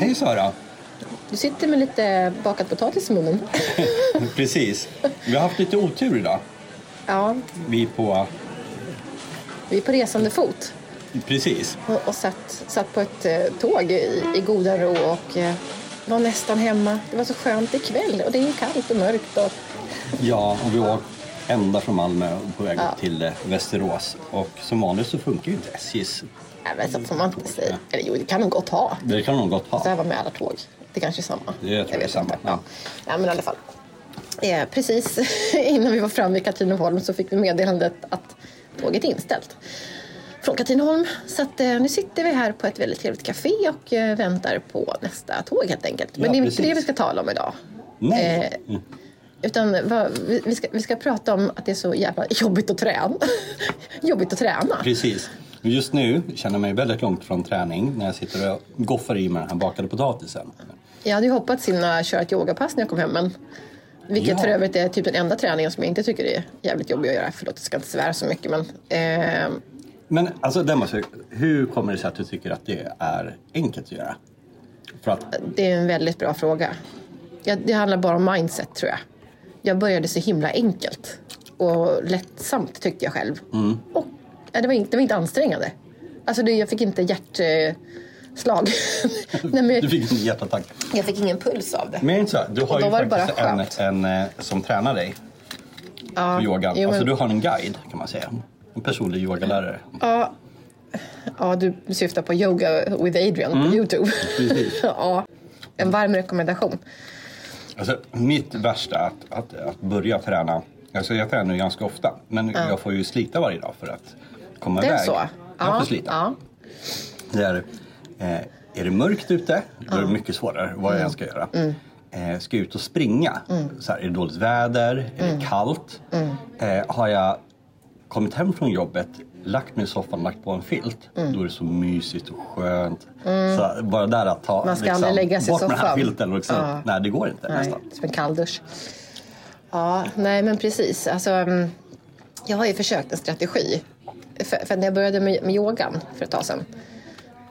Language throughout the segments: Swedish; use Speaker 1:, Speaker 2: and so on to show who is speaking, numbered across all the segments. Speaker 1: Hej Sara!
Speaker 2: Du sitter med lite bakad potatis i munnen.
Speaker 1: Precis. Vi har haft lite otur idag.
Speaker 2: Ja,
Speaker 1: Vi på...
Speaker 2: vi är på resande fot
Speaker 1: Precis.
Speaker 2: och, och satt, satt på ett eh, tåg i, i goda ro och eh, var nästan hemma. Det var så skönt ikväll och det är kallt och mörkt. Och,
Speaker 1: Ja, och vi åkte ända från Malmö och på väg
Speaker 2: Ja.
Speaker 1: upp till eh, Västerås. Och som vanligt så funkar ju inte SJs.
Speaker 2: nej, men så får man inte säga. Eller jo, det kan de gott ha.
Speaker 1: Det kan de gott
Speaker 2: Så här
Speaker 1: ha.
Speaker 2: var med alla tåg. Det kanske är samma.
Speaker 1: Det- jag tror det är
Speaker 2: vet
Speaker 1: samma,
Speaker 2: inte.
Speaker 1: ja.
Speaker 2: Ja. ja, men i alla fall. Eh, precis innan vi var framme vid Katrineholm så fick vi meddelandet att tåget är inställt från Katrineholm. Så att, eh, nu sitter vi här på ett väldigt trevligt café och eh, väntar på nästa tåg helt enkelt. Men
Speaker 1: Ja,
Speaker 2: det är
Speaker 1: precis.
Speaker 2: inte det vi ska tala om idag. eh,
Speaker 1: Nej! Mm.
Speaker 2: Utan vad, vi, vi, ska, vi ska prata om att det är så jävla jobbigt att träna. jobbigt att träna.
Speaker 1: Precis. Men Just nu känner jag mig väldigt långt från träning när jag sitter och goffar i mig den här bakade potatisen.
Speaker 2: Jag hade ju hoppats hinna köra ett yogapass när jag kom hem. Men, vilket
Speaker 1: Ja.
Speaker 2: för övrigt är typ den enda träningen som jag inte tycker är jävligt jobbig att göra. Förlåt, jag ska inte svära så mycket. Men, eh,
Speaker 1: Men alltså, det måste, jag- hur kommer det sig att du tycker att det är enkelt att göra? För att
Speaker 2: det är en väldigt bra fråga. Ja, det handlar bara om mindset tror jag. Jag började så himla enkelt och lättsamt tyckte jag själv. Och, ja, det, var inte, det var inte ansträngande. Alltså, det, jag fick inte hjärtslag. Nej, men
Speaker 1: du
Speaker 2: jag,
Speaker 1: fick en hjärtattack.
Speaker 2: jag fick ingen puls av det.
Speaker 1: Men är det inte så? Du har
Speaker 2: Och då
Speaker 1: ju
Speaker 2: var det bara
Speaker 1: faktiskt en,
Speaker 2: skönt.
Speaker 1: en eh, som tränar dig på yogan.
Speaker 2: jo,
Speaker 1: Alltså
Speaker 2: men-
Speaker 1: du har en guide kan man säga. En personlig yogalärare.
Speaker 2: Ja, ja du syftar på Yoga with Adrian på Youtube.
Speaker 1: Mm. Precis.
Speaker 2: ja, en varm rekommendation.
Speaker 1: Alltså, mitt värsta är att, att, att börja träna. Alltså, jag tränar ju ganska ofta men jag får ju slita varje dag för att komma
Speaker 2: Det är
Speaker 1: iväg.
Speaker 2: så?
Speaker 1: Jag får slita.
Speaker 2: ja.
Speaker 1: Det är, eh, är det mörkt ute, då är det mycket svårare vad
Speaker 2: Mm.
Speaker 1: jag än ska göra. Eh, ska jag ut och springa, så här, är det dåligt väder, är
Speaker 2: Mm.
Speaker 1: det kallt? Eh, har jag kommit hem från jobbet, lagt mig i soffan och lagt på en filt,
Speaker 2: Mm.
Speaker 1: då är det så mysigt och skönt. Så bara där att ta liksom,
Speaker 2: Man ska aldrig lägga sig i
Speaker 1: bort med den här
Speaker 2: soffan.
Speaker 1: filten och liksom,
Speaker 2: Ja.
Speaker 1: nej det går inte
Speaker 2: Nej,
Speaker 1: nästan.
Speaker 2: som en kalldusch. Ja, nej men precis. Alltså, mm, jag har ju försökt en strategi. För, för när jag började med, med yogan för ett tag sedan.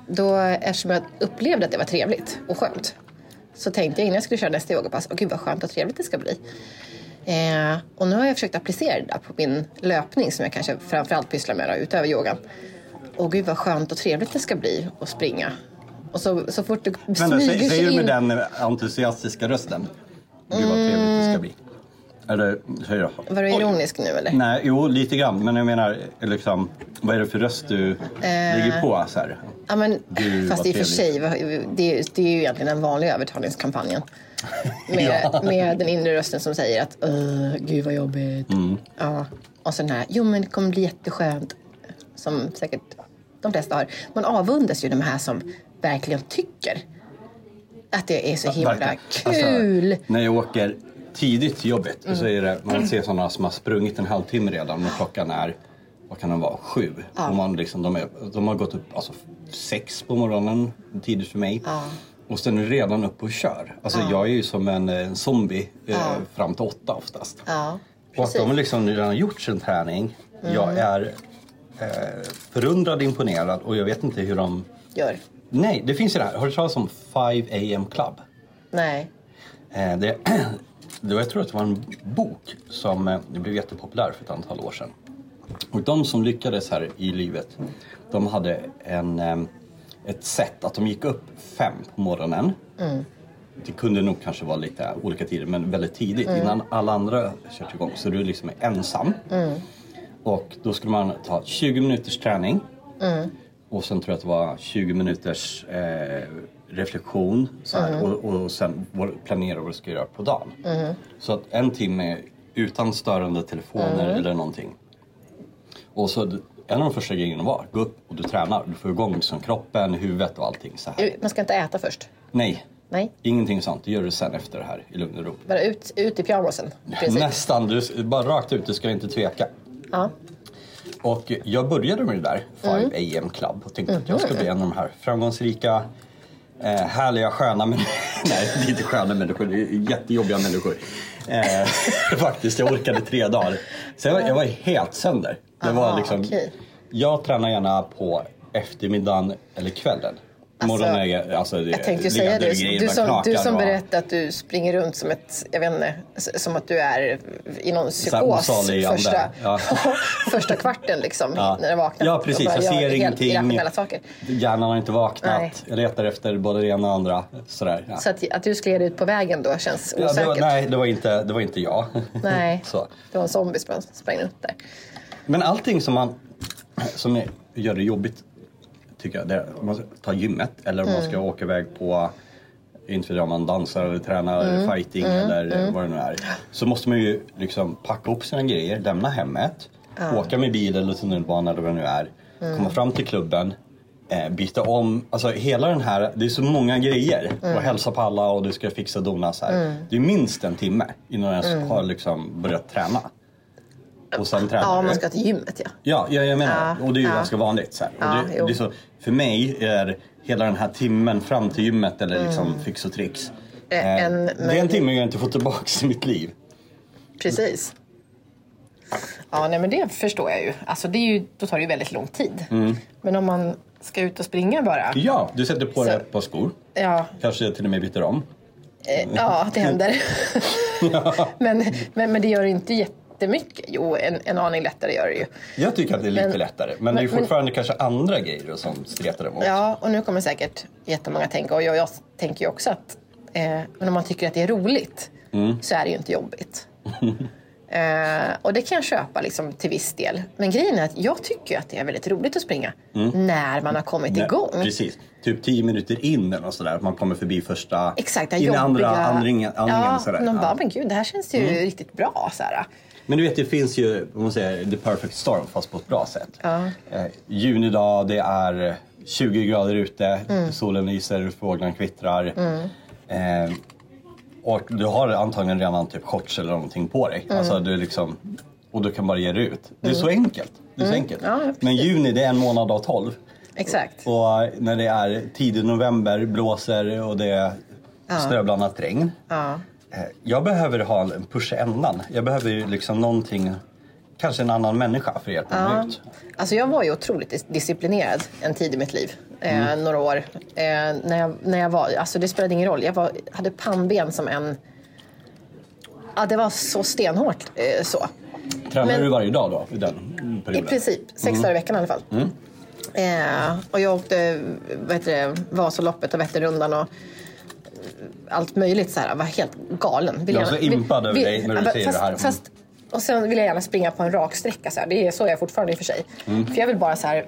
Speaker 2: Då, eftersom jag upplevde att det var trevligt och skönt. Så tänkte jag innan jag skulle köra nästa yogapass, åh gud vad skönt och trevligt det ska bli. Eh, och nu har jag försökt applicera det där på min löpning som jag kanske framförallt pysslar med då, utöver yogan. Åh gud vad skönt och trevligt det ska bli att springa. Och så, så fort det
Speaker 1: Vänta,
Speaker 2: smyger
Speaker 1: eh, säg,
Speaker 2: sig
Speaker 1: säg
Speaker 2: in...
Speaker 1: du med den entusiastiska rösten. Gud vad trevligt
Speaker 2: Mm.
Speaker 1: det ska bli. Eller säger jag?
Speaker 2: Var du
Speaker 1: Oj.
Speaker 2: ironisk nu eller?
Speaker 1: Nej, jo lite grann. Men jag menar, liksom, vad är det för röst du
Speaker 2: Eh,
Speaker 1: lägger på? Så här?
Speaker 2: Ja, men,
Speaker 1: Gud,
Speaker 2: fast
Speaker 1: vad
Speaker 2: i och för sig,
Speaker 1: trevligt.
Speaker 2: vad- det, är ju- det är ju egentligen den vanliga övertalningskampanjen. Med, med den inre rösten som säger att "Åh, gud vad jobbigt.
Speaker 1: Mm.
Speaker 2: Ja. Och så den här, jo men det kommer bli jätteskönt. Som säkert de flesta har. Man avundas ju de här som verkligen tycker att det är så himla
Speaker 1: Verkligen.
Speaker 2: kul. Mm.
Speaker 1: Alltså, när jag åker tidigt till jobbet så är det, man ser sådana som har sprungit en halvtimme redan och klockan är, vad kan den vara, sju. Och man liksom, de, är, de har gått upp alltså, sex på morgonen, tidigt för mig. Och sen är det redan upp och kör. Alltså, Jag är ju som en, eh, zombie eh, fram till åtta oftast.
Speaker 2: ja,
Speaker 1: Och att
Speaker 2: precis.
Speaker 1: de liksom redan har gjort sin träning. Jag är eh, förundrad, imponerad och jag vet inte hur de...
Speaker 2: Gör.
Speaker 1: Nej, det finns ju det här. Har du hört talas om 5 AM Club?
Speaker 2: Nej.
Speaker 1: Eh, det, det var, jag tror att det var en bok som eh, det blev jättepopulär för ett antal år sedan. Och de som lyckades här i livet, de hade en, eh, ett sätt att de gick upp fem på morgonen. Det kunde nog kanske vara lite olika tider, men väldigt tidigt innan alla andra kört igång. Så du liksom är ensam. Och då skulle man ta 20 minuters träning. Och sen tror jag att det var 20 minuters eh, reflektion. Så här, och, och sen vår- planera vad du ska göra på dagen. Så att en timme utan störande telefoner eller någonting. Och så d- en av de första grejerna var, gå upp och du tränar. Du får igång liksom kroppen, huvudet och allting så här.
Speaker 2: Man ska inte äta först.
Speaker 1: Nej,
Speaker 2: Nej.
Speaker 1: ingenting sånt. Det gör du sen efter det här i lugn och ro.
Speaker 2: Bara ut, ut i pyjamasen. i princip.
Speaker 1: Nästan, du, s- bara rakt ut, du ska inte tveka.
Speaker 2: Ja.
Speaker 1: Och jag började med det där,
Speaker 2: Mm.
Speaker 1: 5 AM Club, och tänkte att jag ska bli en av de här framgångsrika, eh, härliga, sköna människorna. Nej, det är inte sköna människor, det är jättejobbiga människor. Eh, faktiskt, jag orkade tre dagar. Sen var, jag var helt sönder. Det var
Speaker 2: Aha,
Speaker 1: liksom,
Speaker 2: okej.
Speaker 1: Jag tränar gärna på eftermiddagen eller kvällen.
Speaker 2: Alltså,
Speaker 1: Morgonen är, alltså, det,
Speaker 2: Jag tänkte ju säga det.
Speaker 1: ledargrejer
Speaker 2: Du
Speaker 1: bara
Speaker 2: som, du
Speaker 1: knakar
Speaker 2: som
Speaker 1: och-
Speaker 2: berättade att du springer runt som ett, jag vet inte, s- som att du är i någon
Speaker 1: här
Speaker 2: psykos
Speaker 1: osalig ande.
Speaker 2: första,
Speaker 1: Ja.
Speaker 2: första kvarten liksom,
Speaker 1: Ja.
Speaker 2: när du vaknar.
Speaker 1: Ja,
Speaker 2: Och
Speaker 1: precis.
Speaker 2: bara
Speaker 1: Jag
Speaker 2: gör
Speaker 1: ser ingenting.
Speaker 2: Helt irrationella saker.
Speaker 1: Hjärnan har inte vaknat.
Speaker 2: Nej.
Speaker 1: Jag letar efter både det ena och det andra. Sådär. Ja.
Speaker 2: Så att, att du skled ut på vägen då känns
Speaker 1: Ja,
Speaker 2: osäkert.
Speaker 1: det var, nej, det var, inte, det var inte jag.
Speaker 2: Nej.
Speaker 1: Så.
Speaker 2: Det var en zombie som sprang runt där.
Speaker 1: Men allting som, man, som är- gör det jobbigt, tycker jag, det är om man ska ta gymmet eller om
Speaker 2: Mm.
Speaker 1: man ska åka iväg på inte vet jag, om man dansar eller tränar
Speaker 2: Mm.
Speaker 1: fighting eller vad det nu är. Så måste man ju liksom packa upp sina grejer, lämna hemmet, åka med bil eller tunnelbana eller vad det nu är,
Speaker 2: Mm.
Speaker 1: komma fram till klubben, eh, byta om. Alltså hela den här, det är så många grejer.
Speaker 2: Mm.
Speaker 1: Och hälsa på alla och du ska fixa och dona så här. Det är minst en timme innan jag
Speaker 2: Mm.
Speaker 1: ens har liksom börjat träna. Och sen tränar
Speaker 2: Ja,
Speaker 1: du.
Speaker 2: man ska till gymmet ja.
Speaker 1: Ja, ja jag menar det.
Speaker 2: Ja,
Speaker 1: Och det är ju
Speaker 2: ja.
Speaker 1: ganska vanligt. Så här.
Speaker 2: Ja,
Speaker 1: och det,
Speaker 2: jo.
Speaker 1: det är så, för mig är hela den här timmen fram till gymmet eller liksom fix och trix.
Speaker 2: Mm. Eh,
Speaker 1: eh,
Speaker 2: en
Speaker 1: det är en
Speaker 2: möjlighet.
Speaker 1: timme jag inte får tillbaka i mitt liv.
Speaker 2: Precis. Ja, nej men det förstår jag ju. Alltså det är ju, då tar det ju väldigt lång tid. Men om man ska ut och springa bara.
Speaker 1: Mm. Ja, du sätter på dig
Speaker 2: Så-
Speaker 1: ett par skor.
Speaker 2: Ja,
Speaker 1: Kanske till och med byter om.
Speaker 2: eh, ja det händer. men, men, men det gör inte jättemycket. Jo, en, en aning lättare gör det ju.
Speaker 1: Jag tycker att det är lite
Speaker 2: Men-
Speaker 1: lättare. Men, det är ju
Speaker 2: men-
Speaker 1: fortfarande kanske andra grejer som stretar emot.
Speaker 2: Ja, och nu kommer säkert jättemånga tänka, och jag, jag tänker ju också att eh, men om man tycker att det är roligt
Speaker 1: Mm.
Speaker 2: så är det ju inte jobbigt. eh, och det kan jag köpa liksom, till viss del. Men grejen är att jag tycker att det är väldigt roligt att springa när man har kommit
Speaker 1: Mm. Nej,
Speaker 2: igång.
Speaker 1: Precis. Typ tio minuter in eller något sådär. Att man kommer förbi första...
Speaker 2: Exakt, det
Speaker 1: in i
Speaker 2: jobbiga...
Speaker 1: andra andningen. andningen
Speaker 2: ja,
Speaker 1: sådär.
Speaker 2: Man
Speaker 1: Ja. Mm.
Speaker 2: bara, men gud, det här känns ju riktigt bra. Så här.
Speaker 1: Men du vet, det finns ju om man säger, the perfect storm fast på ett bra sätt. Eh, junidag, det är 20 grader ute,
Speaker 2: Mm.
Speaker 1: solen lyser, fåglarna kvittrar. Eh, och du har antagligen redan typ shorts eller någonting på dig.
Speaker 2: Mm.
Speaker 1: Alltså, du liksom, och du kan bara ge dig ut. Det är så enkelt. Det är så enkelt.
Speaker 2: Mm. Ja, precis.
Speaker 1: Men juni, det är en månad av tolv.
Speaker 2: Exakt.
Speaker 1: Och eh, när det är tidig november, blåser och det är ströblandat regn.
Speaker 2: Ja.
Speaker 1: Eh, Jag behöver ha en push i ändan. Jag behöver ju liksom någonting, kanske en annan människa för att hjälpa mig ut.
Speaker 2: Alltså jag var ju otroligt dis- disciplinerad en tid i mitt liv. Eh, Några år. Eh, när, jag, när jag var, alltså det spelade ingen roll. Jag var, hade pannben som en... Ja, det var så stenhårt. Eh, så.
Speaker 1: Tränar
Speaker 2: Men-
Speaker 1: du varje dag då? I den
Speaker 2: I
Speaker 1: perioden?
Speaker 2: princip. Sex
Speaker 1: Mm.
Speaker 2: dagar i veckan i alla fall. Eh, och jag åkte vad heter det, Vasaloppet och Vätternrundan och allt möjligt. Så här, var helt galen. Vill
Speaker 1: Jag är
Speaker 2: gärna-
Speaker 1: så impad
Speaker 2: vill-
Speaker 1: över dig när du
Speaker 2: Ja,
Speaker 1: säger
Speaker 2: fast,
Speaker 1: det här. Mm.
Speaker 2: Fast, och sen vill jag gärna springa på en rak sträcka. Så här. Det är så jag är fortfarande i och för sig.
Speaker 1: Mm.
Speaker 2: För jag vill bara så här,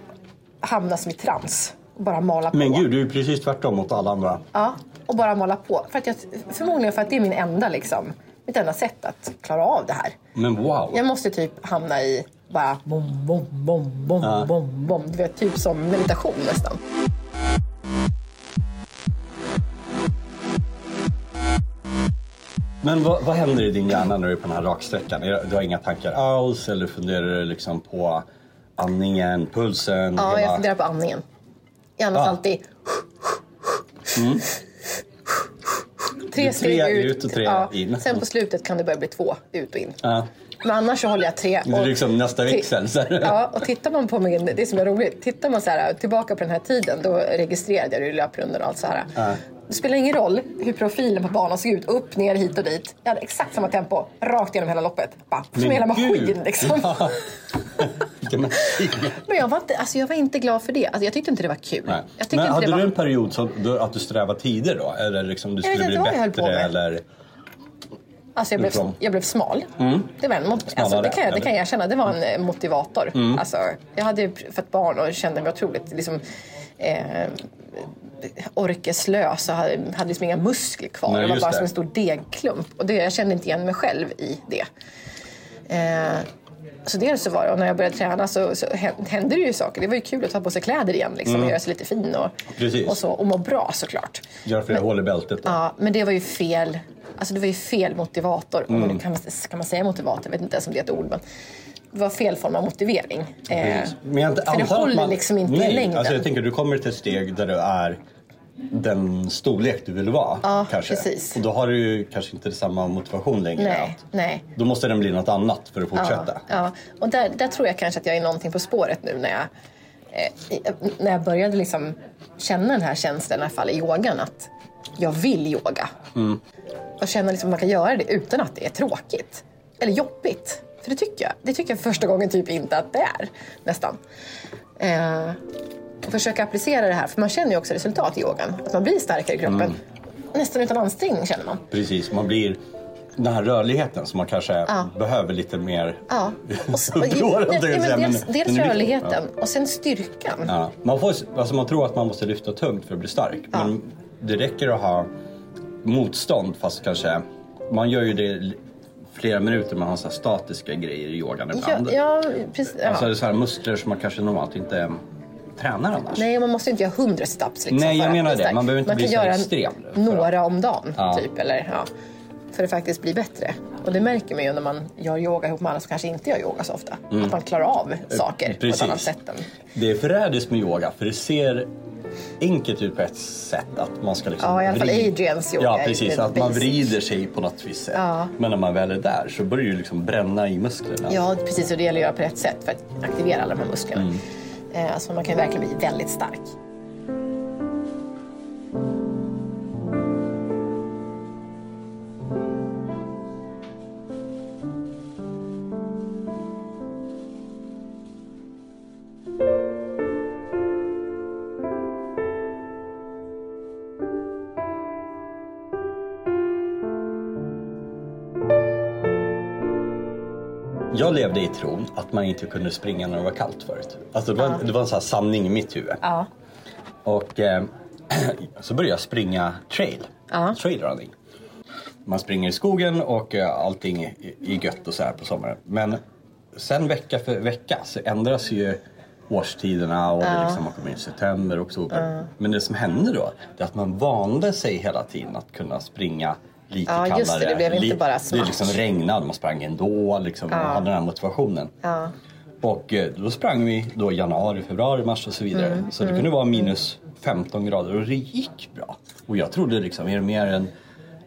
Speaker 2: hamna som i trans och bara mala på.
Speaker 1: Men gud, du är precis tvärtom mot alla andra.
Speaker 2: Ja, och bara mala på. För att jag, förmodligen för att det är min enda, liksom, mitt enda sätt att klara av det här.
Speaker 1: Men wow!
Speaker 2: Jag måste typ hamna i bara bom, bom, bom, bom, bom, bom. Du vet, typ som meditation nästan.
Speaker 1: Men vad, vad händer i din hjärna när du är på den här raksträckan? Är- Du har inga tankar alls eller funderar du liksom på andningen, pulsen?
Speaker 2: Ja,
Speaker 1: hela-
Speaker 2: jag funderar på andningen. Jag andas
Speaker 1: Ah.
Speaker 2: alltid... Tre
Speaker 1: är
Speaker 2: steg
Speaker 1: tre
Speaker 2: ut.
Speaker 1: Mm. ut och tre in.
Speaker 2: Sen på slutet kan det börja bli två ut och in.
Speaker 1: Ja.
Speaker 2: Men annars så håller jag tre.
Speaker 1: Det är liksom nästa
Speaker 2: ti-
Speaker 1: växel, så här.
Speaker 2: Ja, och tittar man på min, det som är roligt, tittar man så här, tillbaka på den här tiden, då registrerade jag det i löprundor och allt så här.
Speaker 1: Ja.
Speaker 2: Det spelar ingen roll hur profilen på banan såg ut, upp, ner, hit och dit. Jag hade exakt samma tempo, rakt genom hela loppet. Bara, som
Speaker 1: Men
Speaker 2: hela maskin
Speaker 1: gud!
Speaker 2: liksom.
Speaker 1: Ja. Vilken maskin!
Speaker 2: Men jag var, inte, alltså jag var inte glad för det. Alltså jag tyckte inte det var kul.
Speaker 1: Nej.
Speaker 2: Jag tyckte
Speaker 1: Men
Speaker 2: inte
Speaker 1: hade
Speaker 2: det
Speaker 1: du
Speaker 2: var...
Speaker 1: en period som, då, att du strävade tider då? Eller liksom du
Speaker 2: Jag vet
Speaker 1: skulle
Speaker 2: inte
Speaker 1: bli
Speaker 2: vad jag höll på
Speaker 1: bättre
Speaker 2: med.
Speaker 1: eller?
Speaker 2: Alltså jag, blev,
Speaker 1: Utifrån. Mm.
Speaker 2: jag blev smal. Det, var en mot, alltså
Speaker 1: Smalare,
Speaker 2: det, kan jag, det
Speaker 1: eller? Mm.
Speaker 2: kan jag erkänna. Det var en eh, motivator. Alltså, jag hade ju fått barn och kände mig otroligt liksom, eh, orkeslös och hade, hade liksom inga muskler kvar.
Speaker 1: Nej,
Speaker 2: det var
Speaker 1: just
Speaker 2: bara
Speaker 1: det.
Speaker 2: som en stor degklump. Och det, jag kände inte igen mig själv i det. Eh, så dels så var det, och när jag började träna så, så hä- hände det ju saker. Det var ju kul att ta på sig kläder igen liksom, och göra sig lite fin och,
Speaker 1: Mm. Precis.
Speaker 2: och, så, och må bra såklart.
Speaker 1: Göra flera hål i bältet då?
Speaker 2: Ja, men det var ju fel. Alltså det var ju fel motivator. Om
Speaker 1: Mm.
Speaker 2: man nu Kan, man, kan man säga motivator? Jag vet inte ens om det är ett ord. Men det var fel form av motivering. Eh,
Speaker 1: Precis. Mm. Men jag
Speaker 2: för det
Speaker 1: antar att
Speaker 2: håller liksom inte i
Speaker 1: nej,
Speaker 2: längden.
Speaker 1: Alltså jag tänker du kommer till ett steg där du är den storlek du vill vara.
Speaker 2: Ja,
Speaker 1: kanske.
Speaker 2: precis.
Speaker 1: Och då har du ju kanske inte samma motivation längre.
Speaker 2: nej,
Speaker 1: Att-
Speaker 2: nej.
Speaker 1: Då måste den bli något annat för att fortsätta.
Speaker 2: Ja, ja. Och där, där tror jag kanske att jag är någonting på spåret nu när jag eh, i- när jag började liksom känna den här känslan, i alla fall i yogan, att jag vill yoga. Och känna liksom att man kan göra det utan att det är tråkigt. Eller jobbigt. För det tycker jag. Det tycker jag första gången typ inte att det är. Nästan. Eh, och försöka applicera det här. För man känner ju också resultat i yogan. Att man blir starkare i kroppen. Nästan utan ansträngning känner man.
Speaker 1: Precis, man blir den här rörligheten som man kanske
Speaker 2: Ja.
Speaker 1: behöver lite mer
Speaker 2: Ja.
Speaker 1: så bra,
Speaker 2: nej,
Speaker 1: tänkte jag
Speaker 2: nej,
Speaker 1: säga,
Speaker 2: men dels
Speaker 1: men-
Speaker 2: dels
Speaker 1: men det är viktigt,
Speaker 2: rörligheten och sen styrkan.
Speaker 1: Ja. Man, får, alltså man tror att man måste lyfta tungt för att bli stark.
Speaker 2: Ja.
Speaker 1: Men det räcker att ha motstånd fast kanske... Man gör ju det l- flera minuter man har så här statiska grejer i yogan
Speaker 2: Ja,
Speaker 1: ibland.
Speaker 2: ja, precis, ja.
Speaker 1: Alltså det är så här muskler som man kanske normalt inte eh, tränar annars.
Speaker 2: Nej, man måste ju inte göra hundra sit-ups. Liksom,
Speaker 1: Nej, jag
Speaker 2: för att
Speaker 1: menar
Speaker 2: bli
Speaker 1: det.
Speaker 2: stark.
Speaker 1: Man behöver inte
Speaker 2: man
Speaker 1: bli
Speaker 2: kan
Speaker 1: så
Speaker 2: göra
Speaker 1: extrem för att-
Speaker 2: några om dagen,
Speaker 1: Ja.
Speaker 2: typ. Eller, ja, för att faktiskt bli bättre. Och det märker man ju när man gör yoga ihop med andra som kanske inte gör yoga så ofta. Att man klarar av saker på ett
Speaker 1: Mm. Eh, Precis.
Speaker 2: annat sätt. Än.
Speaker 1: Det är förrädiskt med yoga för det ser enkelt ut på ett sätt att man ska liksom
Speaker 2: Ja, i alla fall
Speaker 1: vrid-
Speaker 2: Adrians yoga
Speaker 1: Ja,
Speaker 2: är ju
Speaker 1: precis.
Speaker 2: den
Speaker 1: Att man
Speaker 2: basic.
Speaker 1: vrider sig på något visst sätt.
Speaker 2: Ja.
Speaker 1: Men när man väl är där så börjar det ju liksom bränna i musklerna.
Speaker 2: Ja, precis. Och det gäller att göra på rätt sätt för att aktivera alla de här musklerna.
Speaker 1: Mm.
Speaker 2: Eh, så man kan ju verkligen bli väldigt stark.
Speaker 1: Jag levde i tron att man inte kunde springa när det var kallt förut. Alltså det var, det var en sån här sanning i mitt huvud.
Speaker 2: Ja.
Speaker 1: Och eh, så började jag springa trail.
Speaker 2: Ja.
Speaker 1: Trail running. Man springer i skogen och eh, allting är är gött och så här på sommaren. Men sen vecka för vecka så ändras ju årstiderna och det liksom, man kommer in i september, oktober. Men det som hände då det är att man vande sig hela tiden att kunna springa lite
Speaker 2: Ja,
Speaker 1: kallare.
Speaker 2: just det. Det blev inte
Speaker 1: li-
Speaker 2: bara
Speaker 1: Det
Speaker 2: smash.
Speaker 1: liksom regnade, man sprang ändå, liksom, man hade den här motivationen.
Speaker 2: Ja.
Speaker 1: Och eh, då sprang vi då i januari, februari, mars och så vidare.
Speaker 2: Mm,
Speaker 1: så det kunde vara minus 15 grader och det gick bra. Och jag trodde liksom, är det mer än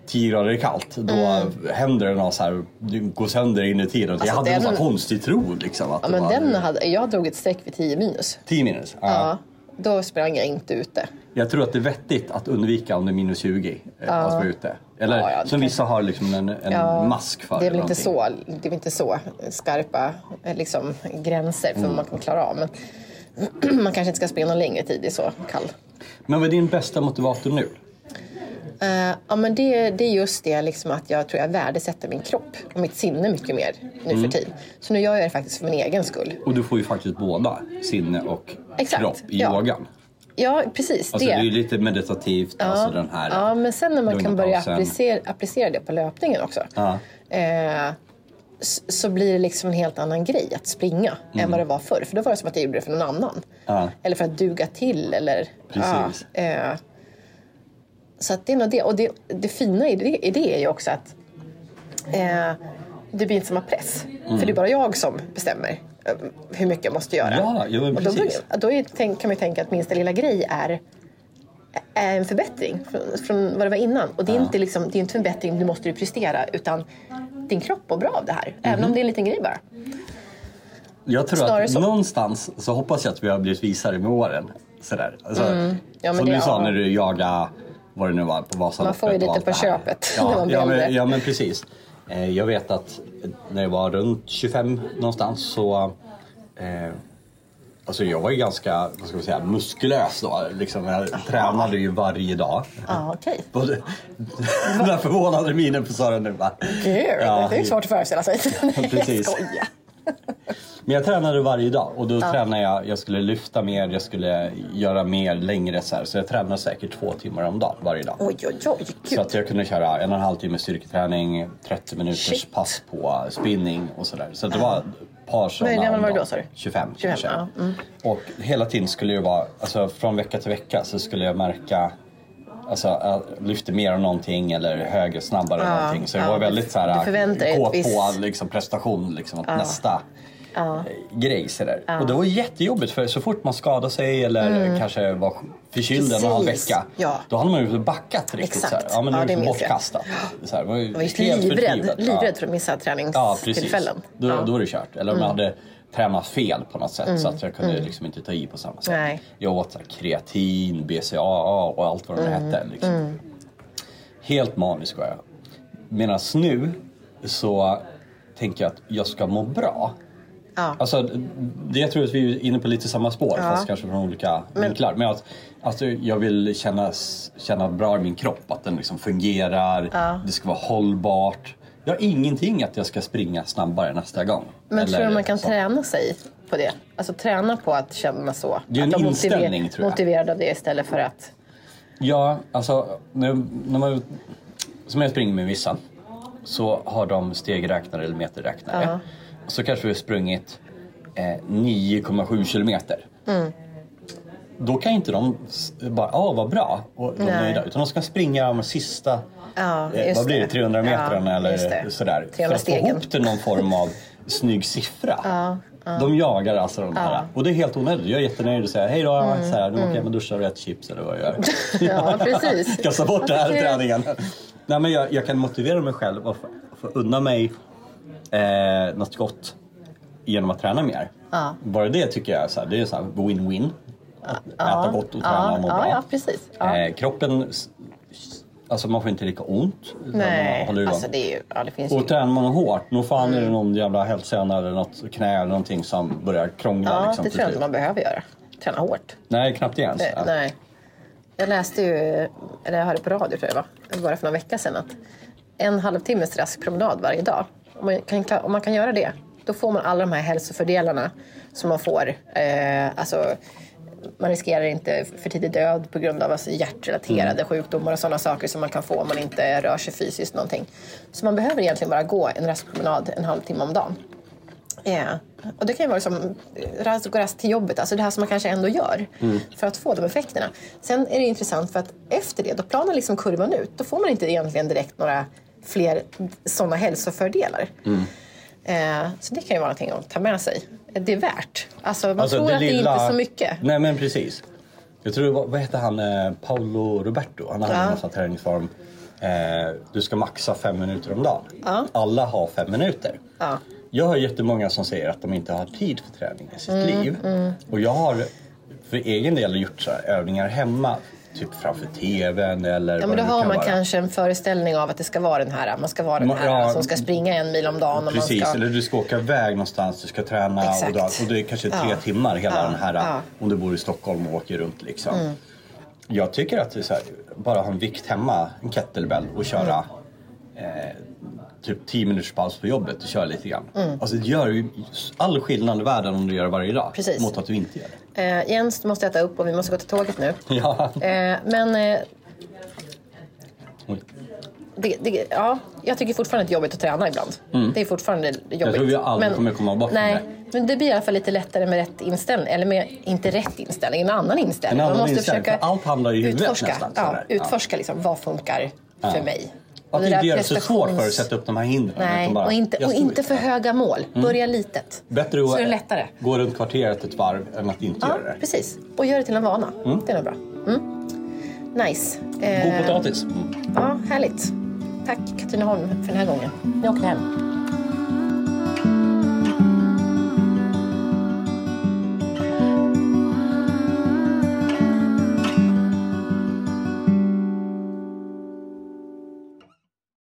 Speaker 1: 10 grader kallt då händer det något så här, du går sönder inuti. Alltså, jag
Speaker 2: Mm. Alltså,
Speaker 1: hade
Speaker 2: den-
Speaker 1: någon sån här konstig tro liksom. Att
Speaker 2: Ja,
Speaker 1: det
Speaker 2: men
Speaker 1: var
Speaker 2: den hade, jag drog ett streck vid 10 minus.
Speaker 1: 10 minus. Ja.
Speaker 2: Ja. Då sprang jag inte ute.
Speaker 1: Jag tror att det är vettigt att undvika om det är minus 20 eh, att vara ute. Eller
Speaker 2: Ja, ja, det kan-
Speaker 1: som vissa har liksom en, en mask för.
Speaker 2: Det är väl
Speaker 1: eller
Speaker 2: inte
Speaker 1: någonting.
Speaker 2: så, det är väl inte så skarpa eh, liksom, gränser för
Speaker 1: Mm.
Speaker 2: vad man kan klara av. Men man kanske inte ska springa någon längre tid i så kall.
Speaker 1: Men vad är din bästa motivator nu?
Speaker 2: Eh, ja, men det, det är just det liksom att jag tror jag värdesätter min kropp och mitt sinne mycket mer nu
Speaker 1: Mm.
Speaker 2: för tiden. Så nu gör jag det faktiskt för min egen skull.
Speaker 1: Och du får ju faktiskt båda, sinne och
Speaker 2: Exakt,
Speaker 1: kropp i
Speaker 2: ja.
Speaker 1: yogan.
Speaker 2: Ja, precis.
Speaker 1: Alltså det,
Speaker 2: det.
Speaker 1: är ju lite meditativt, alltså den här...
Speaker 2: Ja, men sen när man
Speaker 1: lugna
Speaker 2: kan börja
Speaker 1: pausen.
Speaker 2: applicera, applicera det på löpningen också.
Speaker 1: Ja.
Speaker 2: Eh, s- så blir det liksom en helt annan grej att springa än vad det var förr. För då var det som att jag gjorde det för någon annan.
Speaker 1: Mm. Ja.
Speaker 2: Eller för att duga till. Eller,
Speaker 1: Precis.
Speaker 2: Ja, eh, så att det är nog det. Och det, det fina i det, i det är ju också att eh, det blir inte samma press. För
Speaker 1: Mm.
Speaker 2: det är bara jag som bestämmer eh, hur mycket jag måste göra.
Speaker 1: Ja, jo, men
Speaker 2: och då,
Speaker 1: precis.
Speaker 2: då är, tänk- kan man ju tänka att minsta lilla grej är är en förbättring från, från vad det var innan. Och det är, inte liksom, det är inte en förbättring, nu måste du prestera, utan din kropp mår bra av det här. Även
Speaker 1: Mm.
Speaker 2: om det är en liten grej bara.
Speaker 1: Jag tror
Speaker 2: Snarare
Speaker 1: att
Speaker 2: så.
Speaker 1: någonstans så hoppas jag att vi har blivit visare med åren. Sådär. Alltså,
Speaker 2: Mm. Ja, men
Speaker 1: som
Speaker 2: det-
Speaker 1: du sa
Speaker 2: ja.
Speaker 1: när du jagade vad det nu var på Vasaloppet.
Speaker 2: Man får ju
Speaker 1: och
Speaker 2: lite
Speaker 1: allt
Speaker 2: på
Speaker 1: det här.
Speaker 2: köpet när
Speaker 1: Ja,
Speaker 2: man blir
Speaker 1: ja,
Speaker 2: äldre.
Speaker 1: men, ja men precis. Eh, Jag vet att när jag var runt 25 någonstans så eh, Alltså jag var ju ganska vad ska man säga, muskulös då. Liksom, jag tränade ju varje dag.
Speaker 2: Ja, okej.
Speaker 1: Både, den där förvånade minen på Sören nu. va?
Speaker 2: Gud,
Speaker 1: Ja,
Speaker 2: det är ju svårt att föreställa sig. Nej,
Speaker 1: Precis.
Speaker 2: jag skojar.
Speaker 1: Men jag tränade varje dag och då tränade jag, jag skulle lyfta mer, jag skulle göra mer längre så här. Så jag tränade säkert två timmar om dagen varje dag.
Speaker 2: Oj, oj, oj. Gud.
Speaker 1: Så att jag kunde köra en och en halv timme styrketräning, 30 minuters
Speaker 2: Shit.
Speaker 1: pass på spinning och sådär. Så att det var ett par sådana
Speaker 2: gammal
Speaker 1: om
Speaker 2: var du då,
Speaker 1: dagen.
Speaker 2: sa du?
Speaker 1: 25,
Speaker 2: 25,
Speaker 1: kanske.
Speaker 2: ja. mm.
Speaker 1: Och hela tiden skulle det vara, alltså från vecka till vecka så skulle jag märka Alltså jag lyfte mer av någonting eller högre, snabbare
Speaker 2: Ja,
Speaker 1: någonting. Så jag
Speaker 2: ja,
Speaker 1: var väldigt så
Speaker 2: du
Speaker 1: här
Speaker 2: förväntar dig
Speaker 1: kåt
Speaker 2: ett visst-
Speaker 1: på liksom, prestation, liksom, att nästa ja. grej. Så där. Och det var jättejobbigt för så fort man skadade sig eller kanske var förkyld en och en halv
Speaker 2: Mm. Precis,
Speaker 1: vecka.
Speaker 2: ja.
Speaker 1: Då hade man ju backat riktigt.
Speaker 2: Exakt.
Speaker 1: Så här. Ja men det
Speaker 2: Ja,
Speaker 1: var
Speaker 2: det
Speaker 1: liksom
Speaker 2: minns jag.
Speaker 1: bortkastat. Så här, man var ju
Speaker 2: Jag var just
Speaker 1: helt
Speaker 2: livrädd,
Speaker 1: förtvivlad. Ja.
Speaker 2: livrädd för Mm. att missa
Speaker 1: Ja, precis.
Speaker 2: träningstillfällen.
Speaker 1: Då, då är det kört. Eller om jag hade träna fel på något sätt så att jag kunde liksom inte ta i på samma sätt.
Speaker 2: Mm. Nej.
Speaker 1: Jag åt så här, kreatin, BCAA och allt vad de
Speaker 2: Mm.
Speaker 1: hette. Liksom. Helt manisk var jag. Medan nu så tänker jag att jag ska må bra.
Speaker 2: Ja.
Speaker 1: Alltså, det jag tror att vi är inne på lite samma spår fast kanske från olika vinklar. Men att, alltså, jag vill känna, känna bra i min kropp, att den liksom fungerar, det ska vara hållbart. Jag har ingenting att jag ska springa snabbare nästa gång.
Speaker 2: Men tror du man kan
Speaker 1: så.
Speaker 2: träna sig på det? Alltså träna på att känna så?
Speaker 1: Det är en
Speaker 2: att
Speaker 1: inställning, tror jag.
Speaker 2: motiverad av det istället för att...
Speaker 1: Ja, alltså när, när man, som jag springer med vissa så har de stegräknare eller meterräknare.
Speaker 2: Ja.
Speaker 1: Så kanske vi har sprungit eh, 9,7 kilometer.
Speaker 2: Mm.
Speaker 1: Då kan inte de s- bara, ja ah, vad bra, och de är
Speaker 2: Nej.
Speaker 1: nöjda. Utan de ska springa de sista,
Speaker 2: Ja,
Speaker 1: eh,
Speaker 2: just
Speaker 1: vad blir det,
Speaker 2: det.
Speaker 1: 300
Speaker 2: Ja,
Speaker 1: metrarna
Speaker 2: just
Speaker 1: eller
Speaker 2: det.
Speaker 1: sådär. För
Speaker 2: 300
Speaker 1: att få
Speaker 2: stegen.
Speaker 1: ihop till någon form av snygg siffra. De jagar alltså de här. Och det är helt onödigt. Jag är jättenöjd och säger hej då,
Speaker 2: Mm,
Speaker 1: så här, nu åker jag med duschar och äter chips eller vad jag gör.
Speaker 2: Ja, precis.
Speaker 1: Kasta bort den här
Speaker 2: Varför ska
Speaker 1: träningen. Nej, men jag, jag kan motivera mig själv och få, få unna mig eh, något gott genom att träna mer.
Speaker 2: Ja.
Speaker 1: Bara det tycker jag är så här, det är så här win-win. Att äta gott och träna
Speaker 2: Ja,
Speaker 1: och må
Speaker 2: ja,
Speaker 1: bra.
Speaker 2: ja precis. Ja.
Speaker 1: Eh, kroppen, s- s- alltså man får inte lika ont. utan man
Speaker 2: Nej,
Speaker 1: håller igång.
Speaker 2: alltså det Mm. är ju... Ja, det finns ju...
Speaker 1: Och tränar man hårt, nog fan är det någon jävla hälsena eller något knä eller någonting som börjar krångla.
Speaker 2: Ja,
Speaker 1: liksom,
Speaker 2: det
Speaker 1: till
Speaker 2: tror jag inte
Speaker 1: slut.
Speaker 2: man behöver göra. Träna hårt.
Speaker 1: Nej, knappt det ens. Alltså,
Speaker 2: Eh,
Speaker 1: Ja.
Speaker 2: Nej. Jag läste ju, eller jag hörde på radio tror jag det var, bara för några veckor sedan att en halvtimmes rask promenad varje dag. Om man kan, om man kan göra det, då får man alla de här hälsofördelarna som man får. Eh, alltså, man riskerar inte för tidig död på grund av alltså hjärtrelaterade sjukdomar och sådana saker som man kan få om man inte rör sig fysiskt någonting. Så man behöver egentligen bara gå en raskpromenad en halvtimme om dagen. Ja, och det kan ju vara liksom rast och rast till jobbet, alltså det här som man kanske ändå gör
Speaker 1: Mm.
Speaker 2: för att få de effekterna. Sen är det intressant för att efter det, då planar liksom kurvan ut. Då får man inte egentligen direkt några fler sådana hälsofördelar.
Speaker 1: Mm.
Speaker 2: Eh, så det kan ju vara någonting att ta med sig. Det är värt. Alltså man tror att det är inte så mycket.
Speaker 1: Nej men precis. Jag tror, det var- vad hette han, eh, Paolo Roberto? Han hade
Speaker 2: Ja.
Speaker 1: en massa träningsform. Eh, du ska maxa fem minuter om dagen. Alla har fem minuter.
Speaker 2: Ja.
Speaker 1: Jag har jättemånga som säger att de inte har tid för träning i sitt
Speaker 2: Mm,
Speaker 1: liv. Och jag har för egen del gjort så här, övningar hemma. Typ framför TVn eller
Speaker 2: Ja,
Speaker 1: vad
Speaker 2: men då
Speaker 1: det nu
Speaker 2: har
Speaker 1: kan
Speaker 2: man
Speaker 1: vara.
Speaker 2: kanske en föreställning av att det ska vara den här, man ska vara den
Speaker 1: Ma-
Speaker 2: här
Speaker 1: ja,
Speaker 2: som ska springa en mil om dagen. Och
Speaker 1: Precis,
Speaker 2: man ska...
Speaker 1: eller du ska åka iväg någonstans, du ska träna och,
Speaker 2: Exakt.
Speaker 1: då, och det är kanske tre
Speaker 2: Ja.
Speaker 1: timmar hela
Speaker 2: Ja,
Speaker 1: den här
Speaker 2: ja. Mm.
Speaker 1: om du bor i Stockholm och åker runt liksom. Jag tycker att det är så här, bara ha en vikt hemma, en kettlebell och köra eh, typ 10 minuters paus på jobbet och köra lite grann.
Speaker 2: Mm.
Speaker 1: Alltså det gör ju all skillnad i världen om du gör det varje dag
Speaker 2: Precis.
Speaker 1: mot att du inte gör det.
Speaker 2: Eh, Jens, du måste äta upp och vi måste gå till tåget nu.
Speaker 1: Ja.
Speaker 2: Eh, men eh,
Speaker 1: Oj.
Speaker 2: det, det, ja, jag tycker fortfarande att det är jobbigt att träna ibland. Det är fortfarande jobbigt.
Speaker 1: Mm. Jag tror vi aldrig kommer komma bort från
Speaker 2: nej,
Speaker 1: det.
Speaker 2: Men det blir i alla fall lite lättare med rätt inställning. Eller med, inte rätt inställning, en annan inställning.
Speaker 1: En annan
Speaker 2: Man måste
Speaker 1: inställning,
Speaker 2: försöka
Speaker 1: för allt handlar i huvudet
Speaker 2: utforska,
Speaker 1: nästan,
Speaker 2: ja,
Speaker 1: sådär. Ja.
Speaker 2: utforska liksom, vad funkar för mig. Och
Speaker 1: Att
Speaker 2: det där
Speaker 1: inte göra det så svårt för att
Speaker 2: prestations-
Speaker 1: sätta upp de här hindren.
Speaker 2: Nej,
Speaker 1: utan bara,
Speaker 2: och inte,
Speaker 1: jag
Speaker 2: och
Speaker 1: står
Speaker 2: inte
Speaker 1: ut.
Speaker 2: för höga mål. Börja litet.
Speaker 1: Mm. Bättre
Speaker 2: så är det
Speaker 1: att
Speaker 2: lättare.
Speaker 1: gå runt kvarteret ett varv än att inte
Speaker 2: Ja,
Speaker 1: göra det.
Speaker 2: precis. Och gör det till en vana. Det är nog bra. Mm. Nice.
Speaker 1: God
Speaker 2: Eh,
Speaker 1: potatis!
Speaker 2: Ja, härligt. Tack Katrineholm för den här gången. Nu åker vi hem.